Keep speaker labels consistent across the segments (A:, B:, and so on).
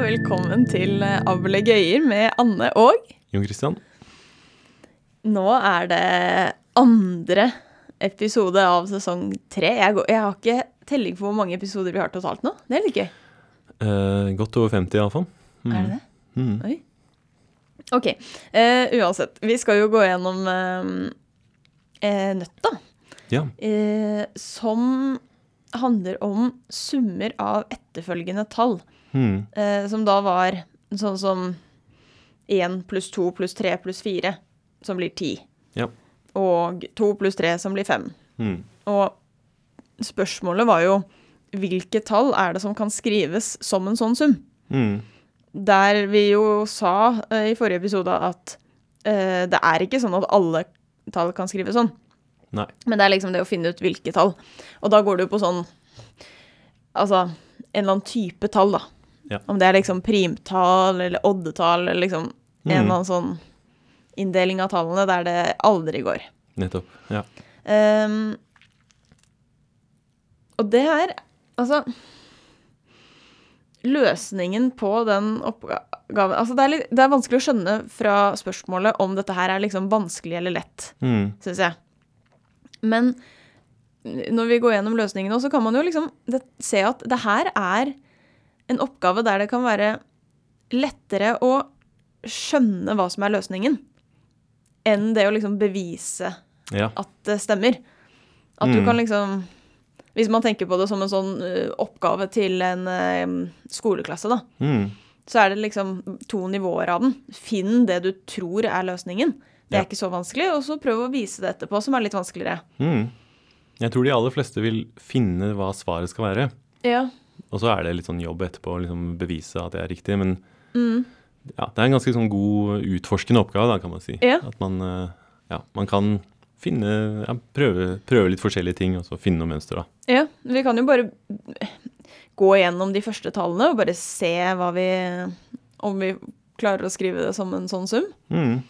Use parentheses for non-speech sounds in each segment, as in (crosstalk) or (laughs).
A: velkommen til eh, Able gøyer med Anne og
B: Jon Christian?
A: Nå er det andre episode av sesong tre. Jeg, går, jeg har ikke telling på hvor mange episoder vi har totalt nå. Det er litt gøy.
B: Eh, godt over 50 iallfall.
A: Er det det?
B: Mm.
A: Oi. Ok. eh, uansett, vi skal jo gå gjennom eh, eh, nøtta,
B: Ja.
A: eh, som handler om summer av etterfølgende tall.
B: Mm.
A: eh, som da var sånn som 1 pluss 2 pluss 3 pluss 4, som blir 10.
B: Ja.
A: Og 2 pluss 3, som blir 5.
B: Mm.
A: Og spørsmålet var jo hvilke tall er det som kan skrives som en sånn sum?
B: Mm.
A: Der vi jo sa eh, i forrige episode at eh, det er ikke sånn at alle tall kan skrives sånn.
B: Nei.
A: Men det er liksom det å finne ut hvilke tall. Og da går det jo på sånn Altså en eller annen type tall, da.
B: Ja.
A: Om det er liksom primtall eller oddetall eller liksom en
B: Mm.
A: eller annen sånn inndeling av tallene der det aldri går.
B: Nettopp. Ja.
A: Ehm, og det her, altså Løsningen på den oppgaven altså det, er litt, det er vanskelig å skjønne fra spørsmålet om dette her er liksom vanskelig eller lett
B: Mm.
A: syns jeg. Men når vi går gjennom løsningen nå, så kan man jo liksom det, se at det her er en oppgave der det kan være lettere å skjønne hva som er løsningen, enn det å liksom bevise
B: Ja.
A: at det stemmer. At du
B: Mm.
A: kan liksom Hvis man tenker på det som en sånn ø, oppgave til en ø, skoleklasse, da,
B: Mm.
A: så er det liksom to nivåer av den. Finn det du tror er løsningen. Det er
B: Ja.
A: ikke så vanskelig. Og så prøv å vise det etterpå, som er litt vanskeligere.
B: Mm. Jeg tror de aller fleste vil finne hva svaret skal være.
A: Ja.
B: Og så er det litt sånn jobb etterpå å liksom bevise at det er riktig. Men
A: Mm.
B: ja, det er en ganske sånn god utforskende oppgave, da, kan man si.
A: Ja.
B: At man, eh, ja, man kan finne ja, prøve, prøve litt forskjellige ting, og så finne noe mønster, da.
A: ja. Vi kan jo bare gå gjennom de første tallene og bare se hva vi Om vi klarer å skrive det som en sånn sum.
B: Mm.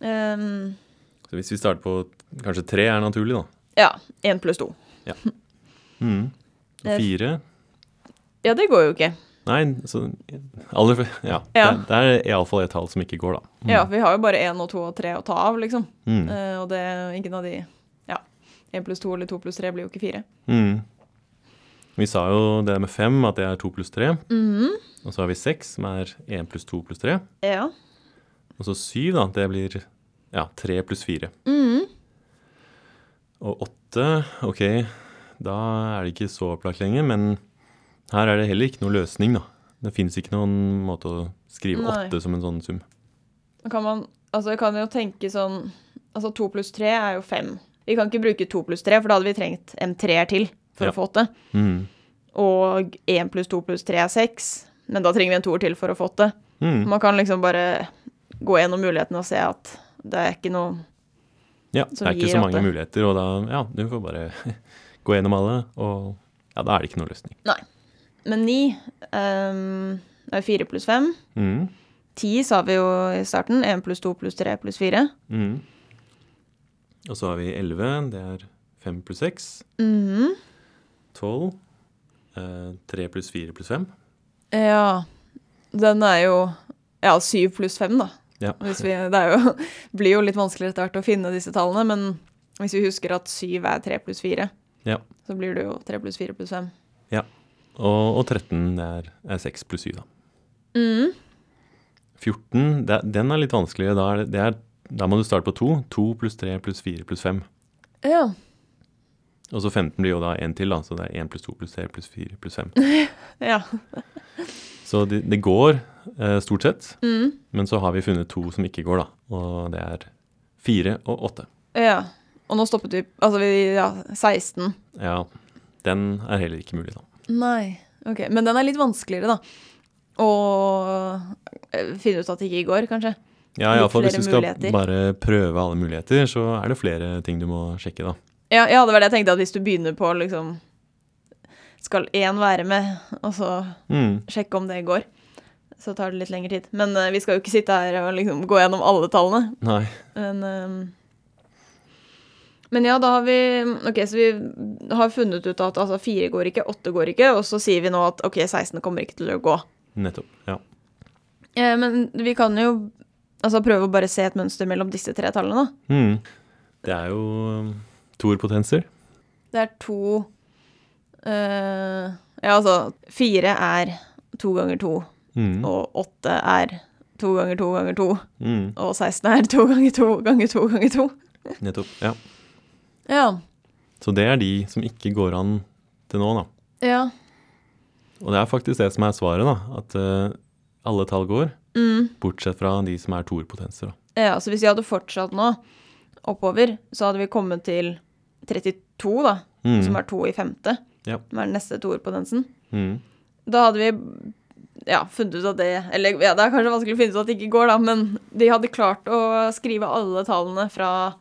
A: Ehm,
B: Så hvis vi starter på kanskje tre er naturlig, da.
A: ja. Én pluss to.
B: Mm.
A: Det er-
B: Fire
A: Ja, det går jo ikke.
B: Nei, så aller, f- ja,
A: Ja.
B: Det, det er iallfall et tall som ikke går, da.
A: Ja, Vi har jo bare én og to og tre å ta av, liksom.
B: Mm.
A: Eh, og det ingen av de Ja. Én pluss to eller to pluss tre blir jo ikke fire.
B: Mm. Vi sa jo det med fem, at det er to pluss tre.
A: Mhm.
B: Og så har vi seks, som er én pluss to pluss tre.
A: Ja.
B: Og så syv, da. Det blir ja, tre pluss fire.
A: Mhm.
B: Og åtte, ok, da er det ikke så opplagt lenger, men her er det heller ikke noen løsning, da. Det fins ikke noen måte å skrive
A: Nei.
B: åtte som en sånn sum.
A: Da Kan man, altså jeg kan jo tenke sånn Altså to pluss tre er jo fem. Vi kan ikke bruke to pluss tre, for da hadde vi trengt en treer til for
B: Ja.
A: å få åtte.
B: Mm.
A: Og én pluss to pluss tre er seks, men da trenger vi en toer til for å få åtte.
B: Mm.
A: Man kan liksom bare gå gjennom mulighetene og se at det er ikke noe
B: Ja,
A: som
B: det er ikke
A: gir
B: så
A: at
B: mange
A: det-
B: muligheter, og da ja, du får bare (laughs) gå gjennom alle, og ja, da er det ikke noen løsning.
A: Nei. Men ni ehm, det er jo fire pluss fem.
B: Mm.
A: Ti sa vi jo i starten. Én pluss to pluss tre pluss fire.
B: Mm. Og så har vi 11, det er 5 pluss 6,
A: Mhm.
B: 12, eh, 3 pluss 4 pluss 5.
A: Ja. Den er jo Ja, syv pluss fem, da.
B: Ja.
A: Hvis vi, det er jo, (laughs) blir jo litt vanskeligere etter hvert å finne disse tallene, men hvis vi husker at 7 er 3 pluss 4,
B: Ja.
A: så blir det jo 3 pluss 4 pluss 5.
B: Og, og 13 det er, er 6 pluss 7, da.
A: Mhm.
B: 14, det, den er litt vanskeligere. Da, er det, det er, da må du starte på 2. 2 pluss 3 pluss 4 pluss 5.
A: Ja.
B: Og så 15 blir jo da 1 til, da, så det er 1 pluss 2 pluss 3 pluss 4 pluss 5.
A: ja.
B: Så det, det går eh, stort sett,
A: Mm.
B: men så har vi funnet to som ikke går, da. Og det er fire og åtte.
A: ja. Og nå stoppet vi Altså, vi, ja, 16.
B: Ja, den er heller ikke mulig, da.
A: Nei. Ok, Men den er litt vanskeligere, da. Å eh, finne ut at det ikke går, kanskje.
B: Ja,
A: Litt
B: iallfall hvis
A: flere
B: du skal
A: muligheter.
B: bare prøve alle muligheter, så er det flere ting du må sjekke, da.
A: Ja, ja, det var det jeg tenkte, at hvis du begynner på liksom Skal én være med, og så
B: Mm.
A: sjekke om det går. Så tar det litt lengre tid. Men eh, vi skal jo ikke sitte her og liksom gå gjennom alle tallene.
B: Nei.
A: Men, eh, men ja, da har vi Ok, så vi har funnet ut at altså, fire går ikke, åtte går ikke, og så sier vi nå at ok, 16 kommer ikke til å gå.
B: Nettopp. Ja.
A: Eh, men vi kan jo altså, prøve å bare se et mønster mellom disse tre tallene. da.
B: Mm. Det er jo um, toerpotenser.
A: Det er to eh, Ja, altså fire er to ganger to,
B: Mm.
A: og åtte er to ganger to ganger to,
B: Mm.
A: og 16 er to ganger to ganger to ganger to.
B: Nettopp. Ja.
A: Ja.
B: Så det er de som ikke går an til nå, da.
A: Ja.
B: Og det er faktisk det som er svaret, da. At eh, alle tall går,
A: Mm.
B: bortsett fra de som er toerpotenser. da.
A: Ja, så hvis vi hadde fortsatt nå oppover, så hadde vi kommet til 32, da,
B: Mm.
A: som er 2 i femte,
B: Ja.
A: som er den neste toerpotensen.
B: Mm.
A: Da hadde vi ja, funnet ut at det Eller ja, det er kanskje vanskelig å finne ut at det ikke går, da, men de hadde klart å skrive alle tallene fra,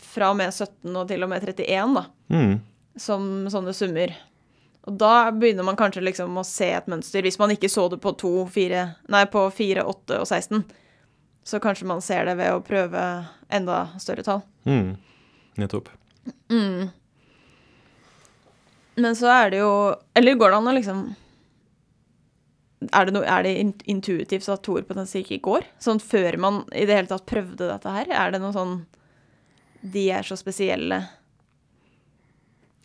A: fra og med 17 og til og med 31, da,
B: Mm.
A: som sånne summer. Og da begynner man kanskje liksom å se et mønster, hvis man ikke så det på 2, 4, nei, på 4, 8 og 16. Så kanskje man ser det ved å prøve enda større tall.
B: Mm. Nettopp.
A: Men så er det jo Eller går det an å liksom Er det, noe- er det in- intuitivt at toer potensielt ikke går? Sånn før man i det hele tatt prøvde dette her? Er det noe sånn De er så spesielle.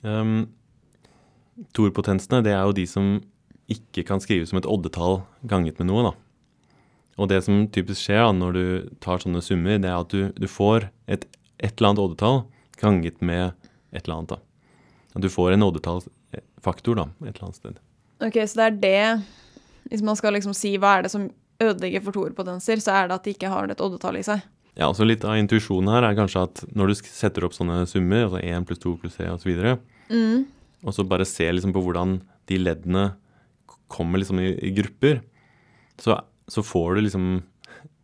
B: Um, toerpotensene, det er jo de som ikke kan skrives som et oddetall ganget med noe, da. Og det som typisk skjer da, når du tar sånne summer, det er at du, du får et, et eller annet oddetall ganget med et eller annet, da. At du får en oddetallsfaktor, da, et eller annet sted.
A: Ok, så det er det Hvis man skal liksom si hva er det som ødelegger for toer potenser, så er det at de ikke har et oddetall i seg.
B: Ja, altså Litt av intuisjonen her er kanskje at når du sk- setter opp sånne summer, altså 1 pluss 2 pluss 3 osv., videre,
A: Mm.
B: og så bare ser liksom på hvordan de leddene k- kommer liksom i, i grupper, så, så får du liksom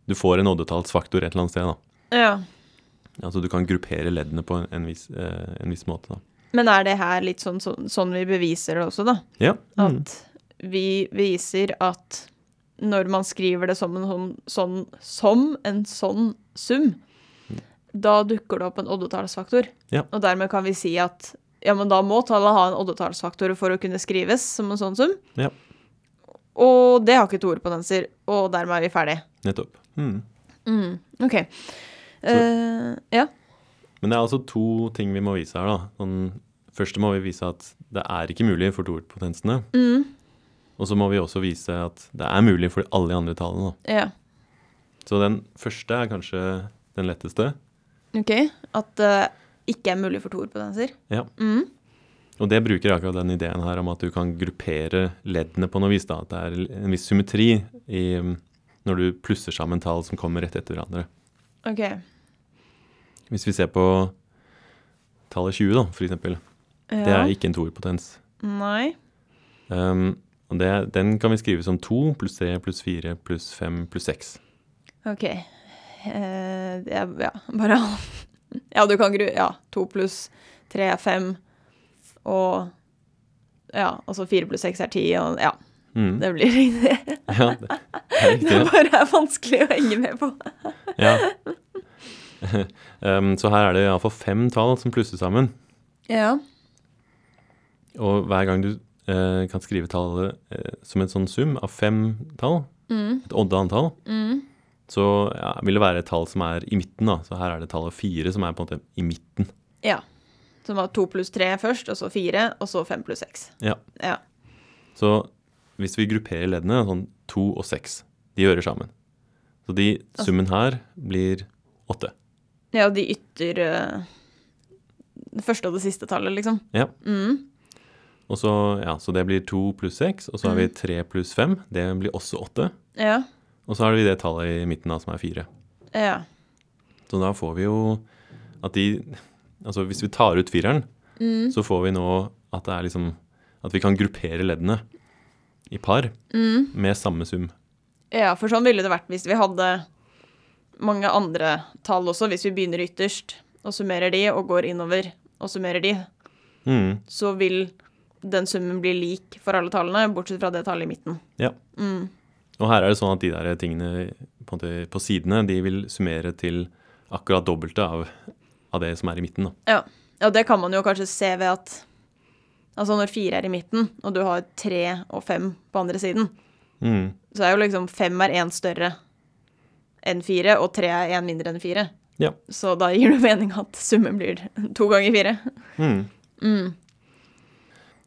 B: Du får en oddetallsfaktor et eller annet sted. da.
A: Ja.
B: Altså Du kan gruppere leddene på en, en, viss, eh, en viss måte. da.
A: Men er det her litt sånn, sånn, sånn vi beviser det også, da?
B: Ja. Mm.
A: At vi viser at når man skriver det som en sånn, sånn, som en sånn sum, da dukker det opp en oddetallsfaktor.
B: Mm. Ja.
A: Og dermed kan vi si at ja, men da må tallet ha en oddetallsfaktor for å kunne skrives som en sånn sum.
B: ja.
A: Og det har ikke to ordponenser, og dermed er vi ferdig.
B: Nettopp. Mm.
A: OK. Eh, ja.
B: Men det er altså to ting vi må vise her. da. Sånn, først må vi vise at det er ikke mulig for toerpotensene.
A: Mm,
B: Og så må vi også vise at det er mulig for alle de andre tallene. da.
A: Ja.
B: Så den første er kanskje den letteste.
A: OK. At det ikke er mulig for to ordponenser.
B: Ja.
A: Mm.
B: Og det bruker akkurat den ideen her om at du kan gruppere leddene på noe vis. da, At det er en viss symmetri i, um, når du plusser sammen tall som kommer rett etter hverandre.
A: OK.
B: Hvis vi ser på tallet 20, da, for eksempel. Det
A: Ja.
B: er ikke en toerpotens.
A: Nei.
B: Um, og det, den kan vi skrive som 2 pluss 3 pluss 4 pluss 5 pluss 6.
A: Ok. Eh, det er, ja, bare (laughs) Ja, du kan gru... Ja, to pluss tre er fem, og Ja, altså fire pluss seks er ti, og ja.
B: Mm.
A: Det blir det.
B: (laughs) Ja, det er riktig.
A: Det
B: ja.
A: bare er vanskelig å henge med på.
B: Ja. (laughs) um, så her er det iallfall fem tall som plusser sammen.
A: Ja.
B: Og hver gang du eh, kan skrive tallet eh, som en sånn sum av fem tall,
A: Mm,
B: et odde antall,
A: mm.
B: så ja, vil det være et tall som er i midten. da. Så her er det tallet fire som er på en måte i midten.
A: Ja. Som var to pluss tre først, og så fire, og så fem pluss seks.
B: Ja.
A: Ja.
B: Så hvis vi grupperer leddene, sånn to og seks, de hører sammen. Så de, summen her blir åtte.
A: Ja, de ytter eh, Det første og det siste tallet, liksom.
B: Ja.
A: Mm.
B: Og så, ja, så det blir to pluss seks, og så
A: Mm.
B: har vi tre pluss fem. Det blir også åtte.
A: Ja.
B: Og så har vi det tallet i midten da, som er fire.
A: Ja.
B: Så da får vi jo at de Altså hvis vi tar ut fireren, så får vi nå at det er liksom At vi kan gruppere leddene i par med samme sum.
A: Ja, for sånn ville det vært hvis vi hadde mange andre tall også. Hvis vi begynner ytterst og summerer de, og går innover og summerer de,
B: Mm,
A: så vil den summen bli lik for alle tallene, bortsett fra det tallet i midten.
B: ja. Og her er det sånn at de der tingene på, en måte, på sidene, de vil summere til akkurat dobbelte av, av det som er i midten. da.
A: Ja. ja, det kan man jo kanskje se ved at Altså når fire er i midten, og du har tre og fem på andre siden,
B: Mm.
A: Så er jo liksom fem er én større enn fire, og tre er én mindre enn fire.
B: Ja.
A: Så da gir det mening at summen blir to ganger fire.
B: Mm.
A: Mm.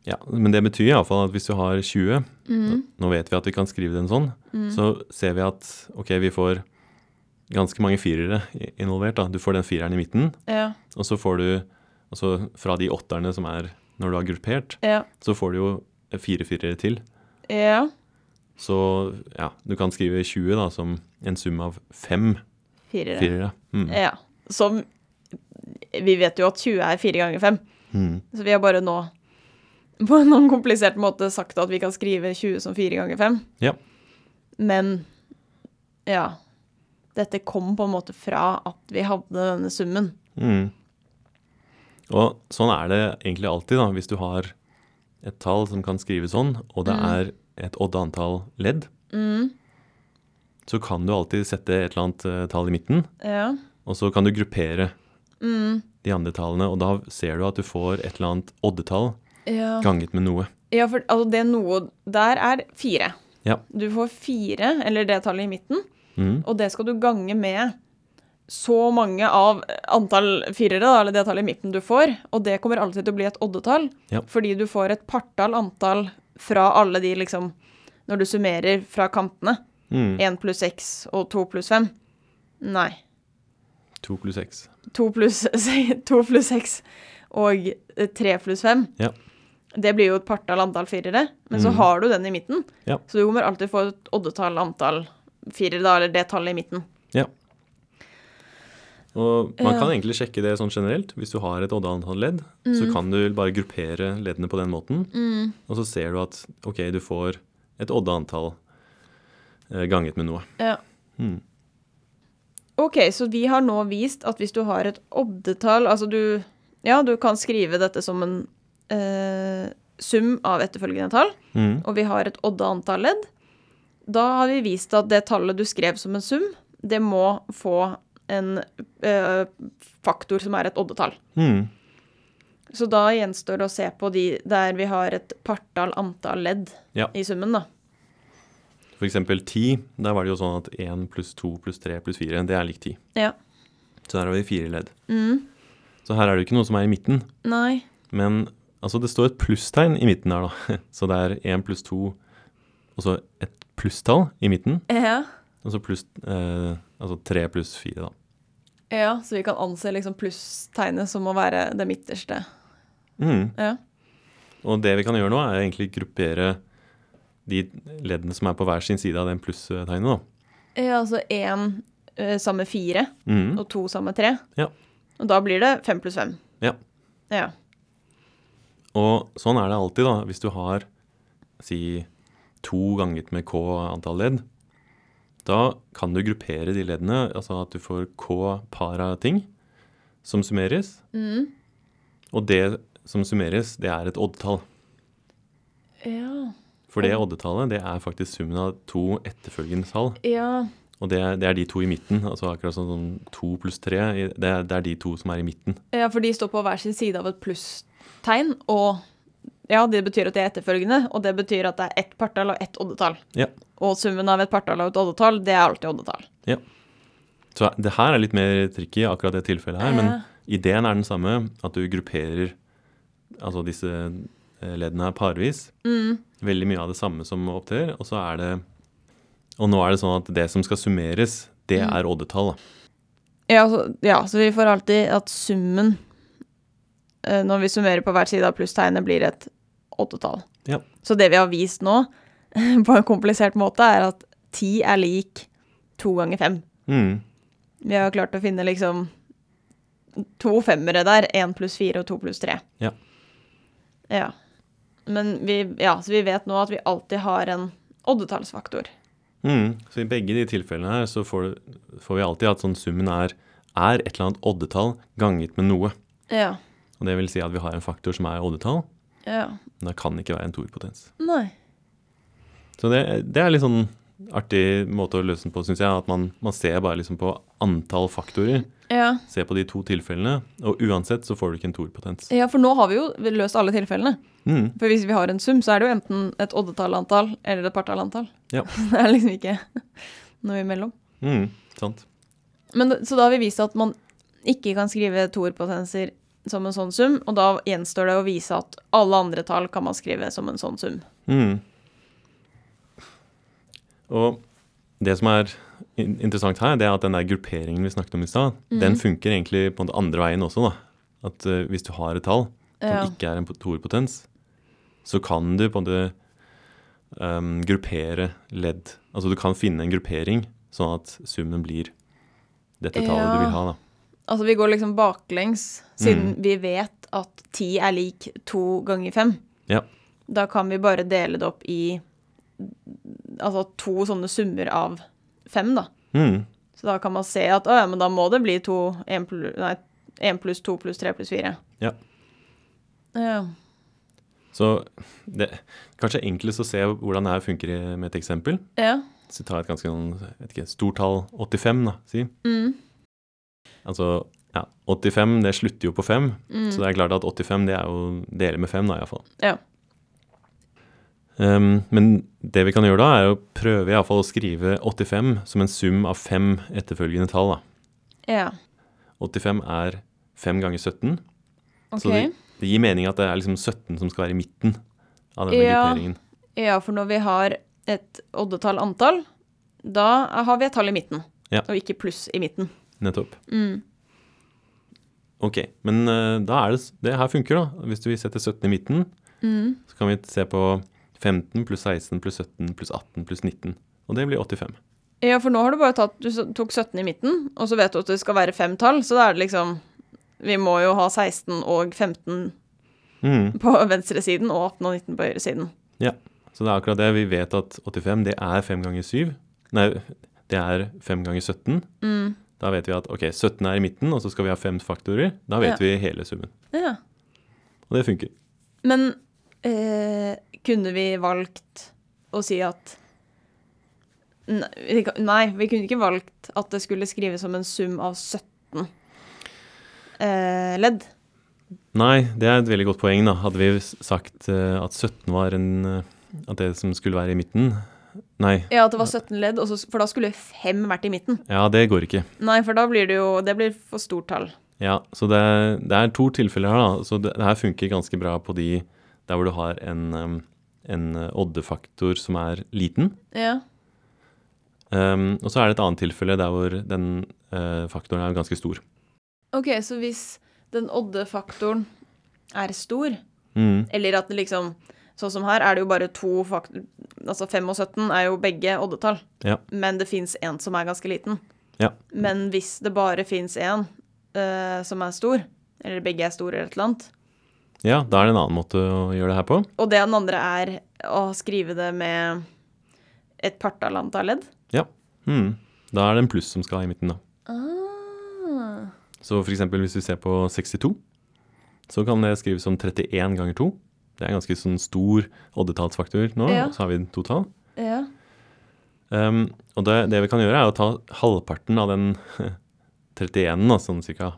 B: Ja, men det betyr iallfall at hvis du har 20,
A: Mm.
B: nå- nå vet vi at vi kan skrive den sånn, så ser vi at ok, vi får ganske mange firere i- involvert. da. Du får den fireren i midten,
A: Ja,
B: og så får du altså fra de åtterne som er når du har gruppert,
A: ja,
B: så får du jo fire firere til.
A: ja.
B: Så ja, du kan skrive 20 da, som en sum av fem
A: Firere.
B: firere. Mm.
A: Ja. Som Vi vet jo at 20 er fire ganger fem,
B: Mm.
A: så vi har bare nå på en noen komplisert måte sagt at vi kan skrive 20 som fire ganger fem.
B: Ja.
A: Men ja. Dette kom på en måte fra at vi hadde denne summen.
B: Mm. Og sånn er det egentlig alltid, da. Hvis du har et tall som kan skrives sånn, og det er et odde antall ledd, så kan du alltid sette et eller annet eh, tall i midten,
A: Ja.
B: og så kan du gruppere de andre tallene, og da ser du at du får et eller annet oddetall
A: Ja.
B: ganget med noe.
A: Ja, for altså det noe der er fire.
B: Ja.
A: Du får fire, eller det tallet i midten,
B: Mm.
A: og det skal du gange med så mange av antall firere, da, eller det tallet i midten du får, og det kommer alltid til å bli et oddetall,
B: Ja.
A: fordi du får et partall antall fra alle de, liksom, når du summerer fra kantene.
B: Mm.
A: Én pluss seks og to pluss fem. Nei.
B: To pluss seks.
A: To pluss (laughs) to pluss seks og eh, tre pluss fem.
B: Ja.
A: Det blir jo et partall antall firere, men så
B: Mhm.
A: har du den i midten.
B: Ja.
A: Så du kommer alltid få et oddetall antall firere, da, eller det tallet i midten.
B: Og man
A: Ja.
B: kan egentlig sjekke det sånn generelt. Hvis du har et odde antall ledd, så kan du bare gruppere leddene på den måten. Og så ser du at ok, du får et odde antall eh, ganget med noe.
A: Ja.
B: Mm.
A: Ok, så vi har nå vist at hvis du har et oddetall Altså du Ja, du kan skrive dette som en eh, sum av etterfølgende tall,
B: Mm.
A: og vi har et odde antall ledd. Da har vi vist at det tallet du skrev som en sum, det må få en eh, faktor som er et oddetall.
B: Mm.
A: Så da gjenstår det å se på de der vi har et partall antall ledd
B: Ja.
A: i summen, da.
B: For eksempel 10. Der var det jo sånn at 1 pluss 2 pluss 3 pluss 4, det er lik 10.
A: Ja.
B: Så her har vi fire ledd.
A: Mm.
B: Så her er det jo ikke noe som er i midten.
A: Nei.
B: Men altså, det står et plusstegn i midten her, da. (laughs) Så det er 1 pluss 2, og så et plusstall i midten.
A: Ja.
B: Og så pluss eh, Altså 3 pluss 4, da.
A: ja, så vi kan anse liksom plusstegnet som å være det midterste.
B: Mm.
A: Ja.
B: Og det vi kan gjøre nå, er egentlig gruppere de leddene som er på hver sin side av den plusstegnet, da.
A: ja altså én eh, sammen med fire
B: Mm.
A: og to sammen med tre.
B: Ja.
A: Og da blir det fem pluss fem.
B: Ja.
A: Ja.
B: Og sånn er det alltid, da. Hvis du har si to ganget med k antall ledd, da kan du gruppere de leddene, altså at du får k par av ting som summeres.
A: Mm.
B: Og det som summeres, det er et oddetall.
A: Ja.
B: For det oddetallet det er faktisk summen av to etterfølgende tall.
A: ja.
B: Og det, er- det er de to i midten. altså Akkurat sånn som to pluss tre. i- Det er, det er de to som er i midten.
A: Ja, for de står på hver sin side av et plusstegn, og ja, det betyr at de er etterfølgende, og det betyr at det er ett partall og ett oddetall.
B: Ja.
A: Og summen av et partall og et oddetall, det er alltid oddetall.
B: Så det her er litt mer tricky, akkurat det tilfellet her. Men ideen er den samme, at du grupperer altså disse eh, leddene her parvis.
A: Mm,
B: Veldig mye av det samme som opptrer. Og så er det Og nå er det sånn at det som skal summeres, det
A: Mm.
B: er oddetall. da.
A: ja, så, ja, så vi får alltid at summen, eh, når vi summerer på hver side av plusstegnet, blir et oddetall.
B: Ja.
A: Så det vi har vist nå, (laughs) på en komplisert måte, er at 10 er lik 2 ganger 5.
B: Mm.
A: Vi har klart å finne liksom to femmere der. Én pluss fire og to pluss tre.
B: Ja.
A: Ja. Men vi, ja, så vi vet nå at vi alltid har en oddetallsfaktor.
B: Mm. Så i begge de tilfellene her så får, du- får vi alltid at sånn summen er, er et eller annet oddetall ganget med noe.
A: Ja.
B: Og det vil si at vi har en faktor som er oddetall,
A: Ja.
B: men det kan ikke være en toerpotens.
A: Nei.
B: Så det, det er litt sånn artig måte å løse den på, syns jeg. At man, man ser bare liksom på antall faktorer.
A: Ja.
B: Se på de to tilfellene, og uansett så får du ikke en torpotens.
A: ja, for nå har vi jo løst alle tilfellene.
B: Mm,
A: For hvis vi har en sum, så er det jo enten et oddetallantall eller et partallantall. (laughs)
B: Ja.
A: Det er liksom ikke noe imellom.
B: mm, sant.
A: Men, det- så da har vi vist at man ikke kan skrive toerpotenser som en sånn sum, og da gjenstår det å vise at alle andre tall kan man skrive som en sånn sum.
B: Mm. Og det som er in- interessant her, det er at den der grupperingen vi snakket om i stad, den funker egentlig på den andre veien også, da. At eh, hvis du har et tall som
A: Ja.
B: ikke er en toerpotens, så kan du på en måte ehm, gruppere ledd. Altså du kan finne en gruppering sånn at summen blir dette tallet
A: Ja.
B: du vil ha, da.
A: Altså vi går liksom baklengs, siden
B: Mm.
A: vi vet at 10 er lik 2 ganger 5.
B: Ja.
A: Da kan vi bare dele det opp i altså to sånne summer av 5, da.
B: Mm.
A: Så da kan man se at å ja, men da må det bli to, en plu- nei, en pluss to pluss tre pluss fire.
B: Ja.
A: Ja.
B: Så det kanskje enklest å se hvordan det her funker i- med et eksempel.
A: ja.
B: Så ta et ganske sånn, jeg vet ikke, stort tall, 85 da, si.
A: Mm.
B: Altså, ja, 85 det slutter jo på 5,
A: Mm.
B: så det er klart at 85 det er jo dele med 5 da i hvert fall.
A: Ja.
B: Ehm, men det vi kan gjøre da er å prøve i hvert fall å skrive 85 som en sum av 5 etterfølgende tall da.
A: Ja.
B: 85 er 5 ganger 17,
A: Ok.
B: så det, det gir mening at det er liksom 17 som skal være i midten av denne
A: Ja.
B: grupperingen.
A: Ja, for når vi har et oddetall antall, da har vi et tall i midten.
B: Ja.
A: Og ikke pluss i midten.
B: Nettopp.
A: Mm.
B: Ok, men eh, da er det, s- det her funker da. Hvis du vil sette 17 i midten,
A: Mm.
B: Så kan vi se på 15 pluss 16 pluss 17 pluss 18 pluss 19. Og det blir 85.
A: Ja, for nå har du bare tatt Du s- tok 17 i midten, og så vet du at det skal være fem tall, så da er det liksom Vi må jo ha 16 og 15
B: Mm.
A: på (laughs) venstresiden og 18 og 19 på høyresiden.
B: Ja, så det er akkurat det. Vi vet at 85 det er 5 ganger 7. Nei, det er 5 ganger 17.
A: Mm.
B: Da vet vi at ok, 17 er i midten, og så skal vi ha fem faktorer. Da
A: Ja.
B: vet vi hele summen.
A: Ja.
B: Og det funker.
A: Men eh, kunne vi valgt å si at Nei, vi kan- Nei, vi kunne ikke valgt at det skulle skrives som en sum av 17 eh, ledd.
B: Nei, det er et veldig godt poeng. da. Hadde vi s- sagt eh, at 17 var en eh, At det som skulle være i midten Nei.
A: Ja, at det var 17 ledd, og så- for da skulle fem vært i midten.
B: Ja, det går ikke.
A: Nei, for da blir det jo Det blir for stort tall.
B: Ja, så det, det er to tilfeller her, da. Så det, det her funker ganske bra på de der hvor du har en, em, en eh, oddefaktor som er liten.
A: Ja.
B: Em, Ehm, og så er det et annet tilfelle der hvor den eh, faktoren er ganske stor.
A: OK, så hvis den odde-faktoren er stor,
B: Mm,
A: eller at det liksom Sånn som her er det jo bare to fakt... Altså 5 og 17 er jo begge oddetall.
B: ja.
A: Men det fins en som er ganske liten.
B: Ja.
A: Men hvis det bare fins en eh, som er stor, eller begge er store eller et eller annet,
B: ja, da er det en annen måte å gjøre det her på.
A: og det den andre er å skrive det med et partallanta ledd
B: Ja. Mm, da er det en pluss som skal i midten, da.
A: ah.
B: Så f.eks. hvis vi ser på 62, så kan det skrives som 31 ganger 2. Det er en ganske sånn stor oddetallsfaktor nå,
A: Ja.
B: og så har vi to tall.
A: Ja.
B: Um, og det, det vi kan gjøre, er å ta halvparten av den (laughs) 31-en, da, sånn cirka.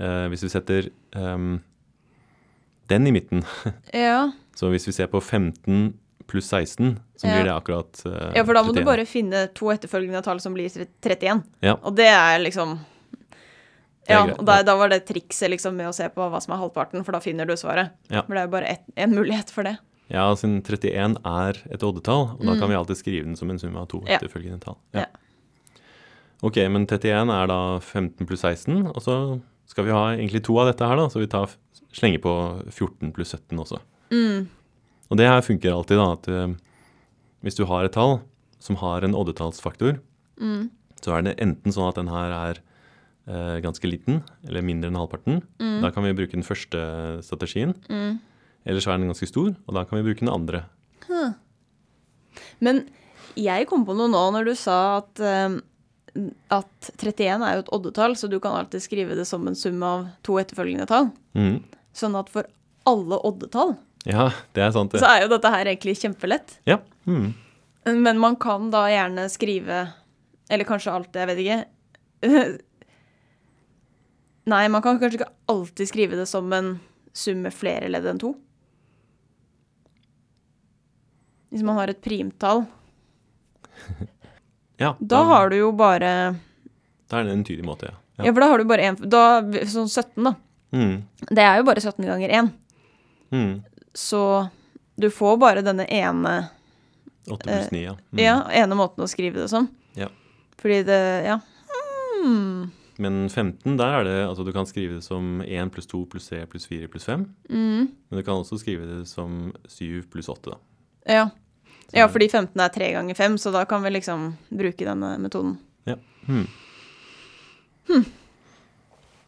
B: Eh, hvis vi setter um, den i midten.
A: ja.
B: Så hvis vi ser på 15 pluss 16, så
A: Ja.
B: blir det akkurat uh,
A: Ja, for da må du
B: 31.
A: bare finne to etterfølgende tall som blir tre- 31.
B: Ja.
A: Og det er liksom
B: Det er
A: Ja,
B: greit,
A: og da,
B: ja.
A: da var det trikset liksom med å se på hva som er halvparten, for da finner du svaret.
B: Ja.
A: For det er jo bare ett- en mulighet for det.
B: Ja, siden 31 er et oddetall, og da kan vi alltid skrive den som en sum av to
A: Mm. Ja.
B: etterfølgende tall.
A: Ja.
B: Ok, men 31 er da 15 pluss 16, og så skal vi ha egentlig to av dette her, da, så vi tar, slenger på 14 pluss 17 også.
A: Mm.
B: Og det her funker alltid, da, at eh, hvis du har et tall som har en oddetallsfaktor,
A: Mm.
B: så er det enten sånn at den her er eh, ganske liten, eller mindre enn halvparten.
A: Mm.
B: Da kan vi bruke den første eh, strategien. Eller så er den ganske stor, og da kan vi bruke den andre.
A: Men jeg kom på noe nå når du sa at, eh, at 31 er jo et oddetall, så du kan alltid skrive det som en sum av to etterfølgende tall.
B: Mm.
A: Sånn at for alle oddetall
B: Ja, det er sant, det.
A: så er jo dette her egentlig kjempelett.
B: Ja. Mm.
A: Men man kan da gjerne skrive Eller kanskje alt, jeg vet ikke. (laughs) Nei, man kan kanskje ikke alltid skrive det som en sum med flere ledd enn to. Hvis man har et primtall,
B: Ja,
A: da har du jo bare
B: da er det en entydig måte, ja.
A: Ja, for da har du bare én da- Sånn 17, da.
B: Mm,
A: Det er jo bare 17 ganger 1.
B: mm.
A: Eh, Så du får bare denne ene
B: 8 pluss 9, ja. Mm.
A: Ja, ene måten å skrive det som.
B: Ja.
A: Fordi det Ja. Hmm.
B: Men 15, der er det altså du kan skrive det som 1 pluss 2 pluss 3 pluss 4 pluss 5.
A: Mm.
B: Men du kan også skrive det som 7 pluss 8, da.
A: Ja. ja, fordi 15 er 3 ganger 5, så da kan vi liksom bruke denne metoden.
B: Ja. Hmm.
A: Hmm.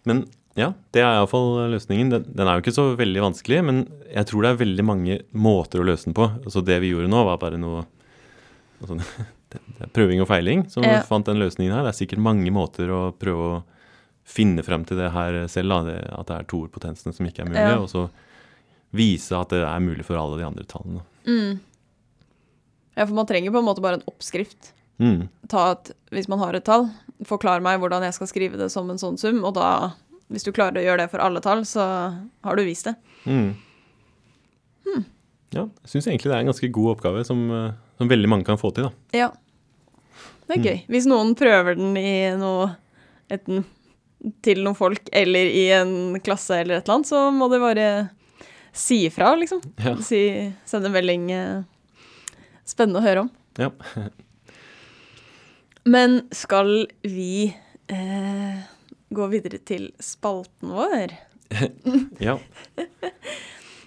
B: Men ja, det er iallfall eh, løsningen. Den, den er jo ikke så veldig vanskelig, men jeg tror det er veldig mange måter å løse den på. Altså det vi gjorde nå, var bare noe altså, (laughs) det, det er prøving og feiling som
A: Ja.
B: fant den løsningen her. Det er sikkert mange måter å prøve å finne frem til det her selv, da, det, at det er toerpotensene som ikke er mulig,
A: Ja.
B: og så vise at det er mulig for alle de andre tallene.
A: Ja, for man trenger på en måte bare en oppskrift.
B: Mm.
A: Ta et, hvis man har et tall, forklar meg hvordan jeg skal skrive det som en sånn sum, og da, hvis du klarer å gjøre det for alle tall, så har du vist det.
B: Mm. Ja, jeg syns egentlig det er en ganske god oppgave som, eh, som veldig mange kan få til. da.
A: Ja. Det er gøy. Hvis noen prøver den i noe enten til noen folk eller i en klasse eller et eller annet, så må det bare si ifra, liksom.
B: Ja.
A: Si, sende melding. eh, Spennende å høre om.
B: Ja.
A: Men skal vi eh, gå videre til spalten vår?
B: ja.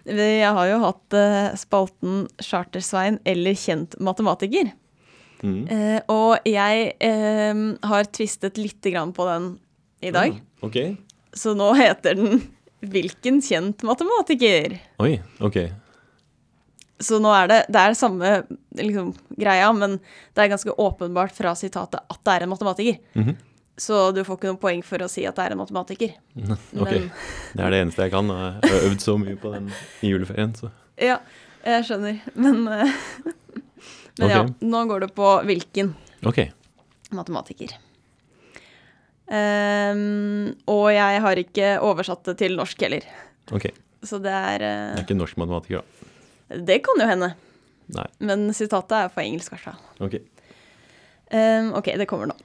A: Jeg har jo hatt eh, spalten Chartersvein eller kjent matematiker.
B: Mm.
A: Eh, og jeg eh, har tvistet lite grann på den i dag.
B: Ok.
A: Så nå heter den Hvilken kjent matematiker?
B: Oi, ok.
A: Så nå er det, det er samme liksom, greia, men det er ganske åpenbart fra sitatet at det er en matematiker.
B: Mhm.
A: Så du får ikke noe poeng for å si at det er en matematiker.
B: Ok,
A: Men-
B: Det er det eneste jeg kan. og Jeg har øvd så mye på den i juleferien, så
A: Ja, jeg skjønner. Men, eh, (laughs) men ja,
B: Ok.
A: nå går det på hvilken
B: ok.
A: matematiker. Ehm, og jeg har ikke oversatt det til norsk heller.
B: ok. Det
A: Så det er
B: er ikke norsk matematiker, da.
A: eh, Det kan jo hende.
B: Nei.
A: Men sitatet er på engelsk, altså. i hvert fall.
B: Ok.
A: Um, ok, det kommer nå.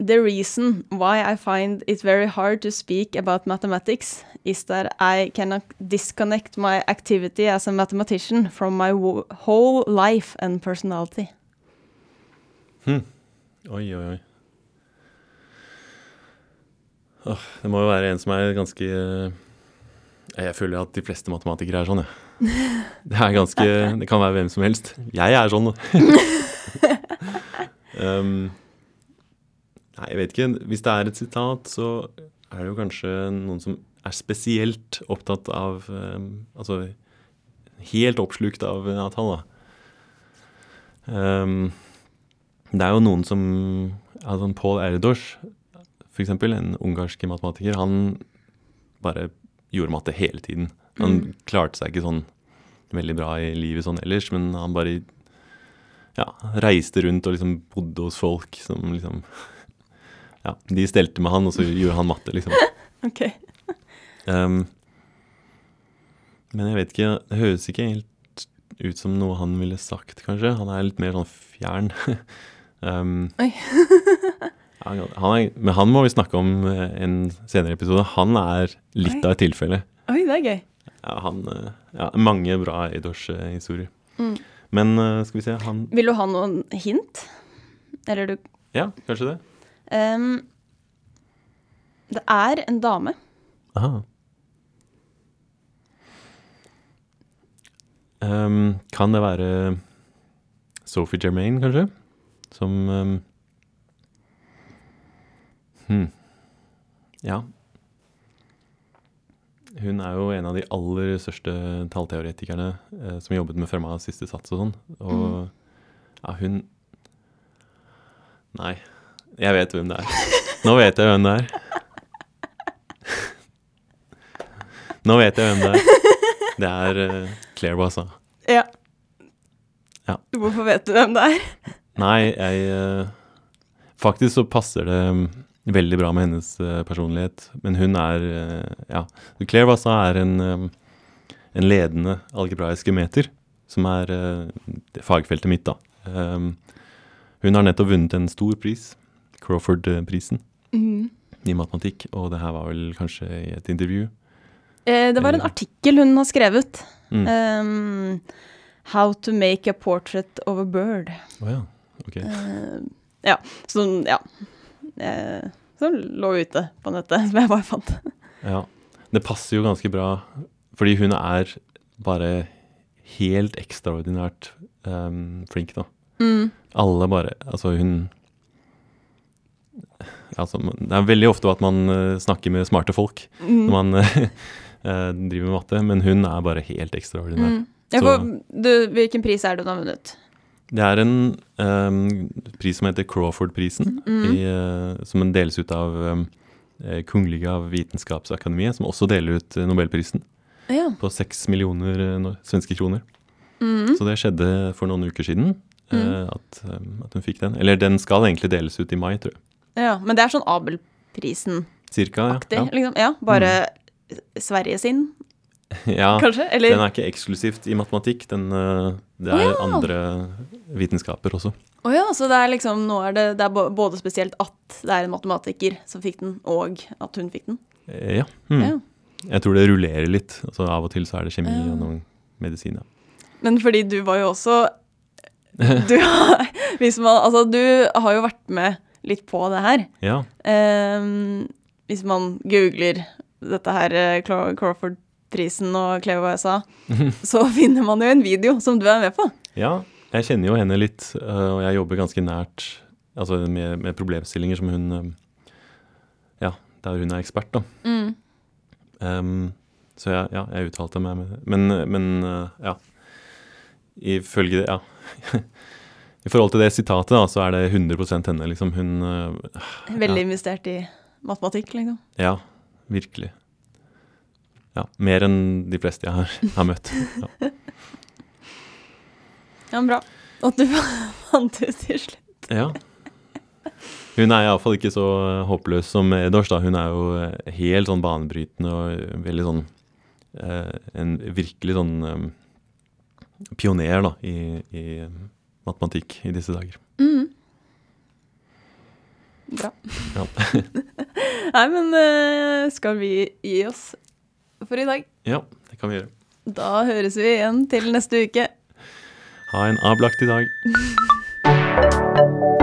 A: The reason why I find it very hard to speak about mathematics is that I cannot disconnect my activity as a mathematician from my wo- whole life and personality.
B: Oi, oi, oi. Åh, det må jo være en som er ganske eh, Jeg føler at de fleste matematikere er sånn, jeg. Det er ganske Det kan være hvem som helst. Jeg er sånn. um, nei, jeg vet ikke. Hvis det er et sitat, så er det jo kanskje noen som er spesielt opptatt av um, Altså helt oppslukt av eh, av tall, da. Um, det er jo noen som altså Paul Erdos, for eksempel, en ungarsk matematiker, han bare gjorde matte hele tiden. Han klarte seg ikke sånn veldig bra i livet sånn ellers, men han bare ja, reiste rundt og liksom bodde hos folk som liksom Ja, de stelte med han, og så gjorde han matte, liksom.
A: Ok.
B: Ehm, men jeg vet ikke Det høres ikke helt ut som noe han ville sagt, kanskje. Han er litt mer sånn fjern. (laughs) Ehm, (laughs)
A: Oi.
B: han er, men han må vi snakke om eh, en senere episode. Han er litt
A: Oi.
B: av et tilfelle.
A: Oi, det er gøy.
B: Ja, han, eh, ja, mange bra Eidosh-historier.
A: Mm.
B: Men eh, skal vi se han,
A: Vil du ha noen hint? Eller du
B: Ja, kanskje det?
A: um, Det er en dame.
B: Aha. Ehm, kan det være Sophie Germain, kanskje? Som ehm, hmm. Ja. Hun er jo en av de aller største tallteoretikerne eh, som jobbet med Fermats siste sats og sånn. Og ja, hun Nei, jeg vet hvem det er. Nå vet jeg hvem det er. altså. Nå vet jeg hvem det er. Det er eh, Claire Boissin.
A: Ja.
B: Ja.
A: Hvorfor vet du hvem det er?
B: Nei, jeg eh, Faktisk så passer det mm, veldig bra med hennes eh, personlighet. Men hun er eh, Ja. Claire Wassa er en, eh, en ledende algebraisk meter, som er eh, det fagfeltet mitt, da. Um, hun har nettopp vunnet en stor pris, Crawford-prisen,
A: Mm.
B: i matematikk. Og det her var vel kanskje i et intervju.
A: Eh, det var en
B: Eller-
A: artikkel hun har skrevet.
B: Mm.
A: Um, How to make a portrait of a bird.
B: Å ja. Ok.
A: Eh, ja, som, ja. Eh, som lå ute på nettet, (laughs) som jeg bare fant.
B: Ja. Det passer jo ganske bra, fordi hun er bare helt ekstraordinært ehm, flink, da.
A: Mm.
B: Alle bare Altså, hun Altså, man- det er veldig ofte at man eh, snakker med smarte folk når
A: Mm.
B: man (laughs) eh, eh, driver med matte, men hun er bare helt ekstraordinær.
A: Mm. Ja,
B: Så-
A: for, du, hvilken pris er det hun har vunnet?
B: Det er en ehm, pris som heter Crawford-prisen,
A: Mm.
B: i, eh, som deles ut av um, Kungliga Vitenskapsakademiet, som også deler ut eh, Nobelprisen.
A: Ja.
B: på 6 millioner eh, nor- svenske kroner.
A: Mm.
B: Så det skjedde for noen uker siden eh,
A: Mm.
B: at, eh, at hun fikk den. Eller den skal egentlig deles ut i mai, tror jeg.
A: ja. Men det er sånn Abelprisen-aktig,
B: Cirka. Ja. Mm.
A: liksom. Ja, bare Sverige sin,
B: (laughs) ja. ja.
A: kanskje? Eller
B: Den er ikke eksklusivt i matematikk. Den, eh, det
A: Å
B: er
A: ja.
B: andre vitenskaper også.
A: Å ja, så det er liksom, nå er det, det er bo- både spesielt at det er en matematiker som fikk den, og at hun fikk den.
B: Eh, Ja. Mm.
A: Ja.
B: Jeg tror det rullerer litt. Altså, av og til så er det kjemi
A: Ja.
B: og noen medisin. Ja.
A: Men fordi du var jo også du, har- hvis man, altså, du har jo vært med litt på det her.
B: ja.
A: Ehm, hvis man googler dette her eh, Cla- Crawford-prisen og Cleo USA, så finner man jo en video som du er med på.
B: Ja, jeg kjenner jo henne litt, øh, og jeg jobber ganske nært altså med, med problemstillinger som hun øhm, Ja, der hun er ekspert, da.
A: Mm.
B: Ehm, så jeg, ja, jeg uttalte meg med Men, men øh, ja. Ifølge det, ja. (laughs) I forhold til det sitatet, da, så er det 100 henne. liksom. Hun øh,
A: Veldig investert i matematikk, liksom.
B: Ja, virkelig. Ja, Mer enn de fleste jeg har, har møtt. Ja.
A: Ja, men bra. At du (laughs) fant ut til slutt.
B: Ja. Hun er iallfall ikke så eh, håpløs som Edors. da. Hun er jo eh, helt sånn banebrytende og veldig sånn eh, En virkelig sånn eh, pioner da, i, i matematikk i disse dager.
A: Mm. Bra.
B: Ja.
A: (laughs) Nei, men eh, skal vi gi oss for i dag?
B: Ja, det kan vi gjøre.
A: Da høres vi igjen til neste uke.
B: Ha en abelaktig dag.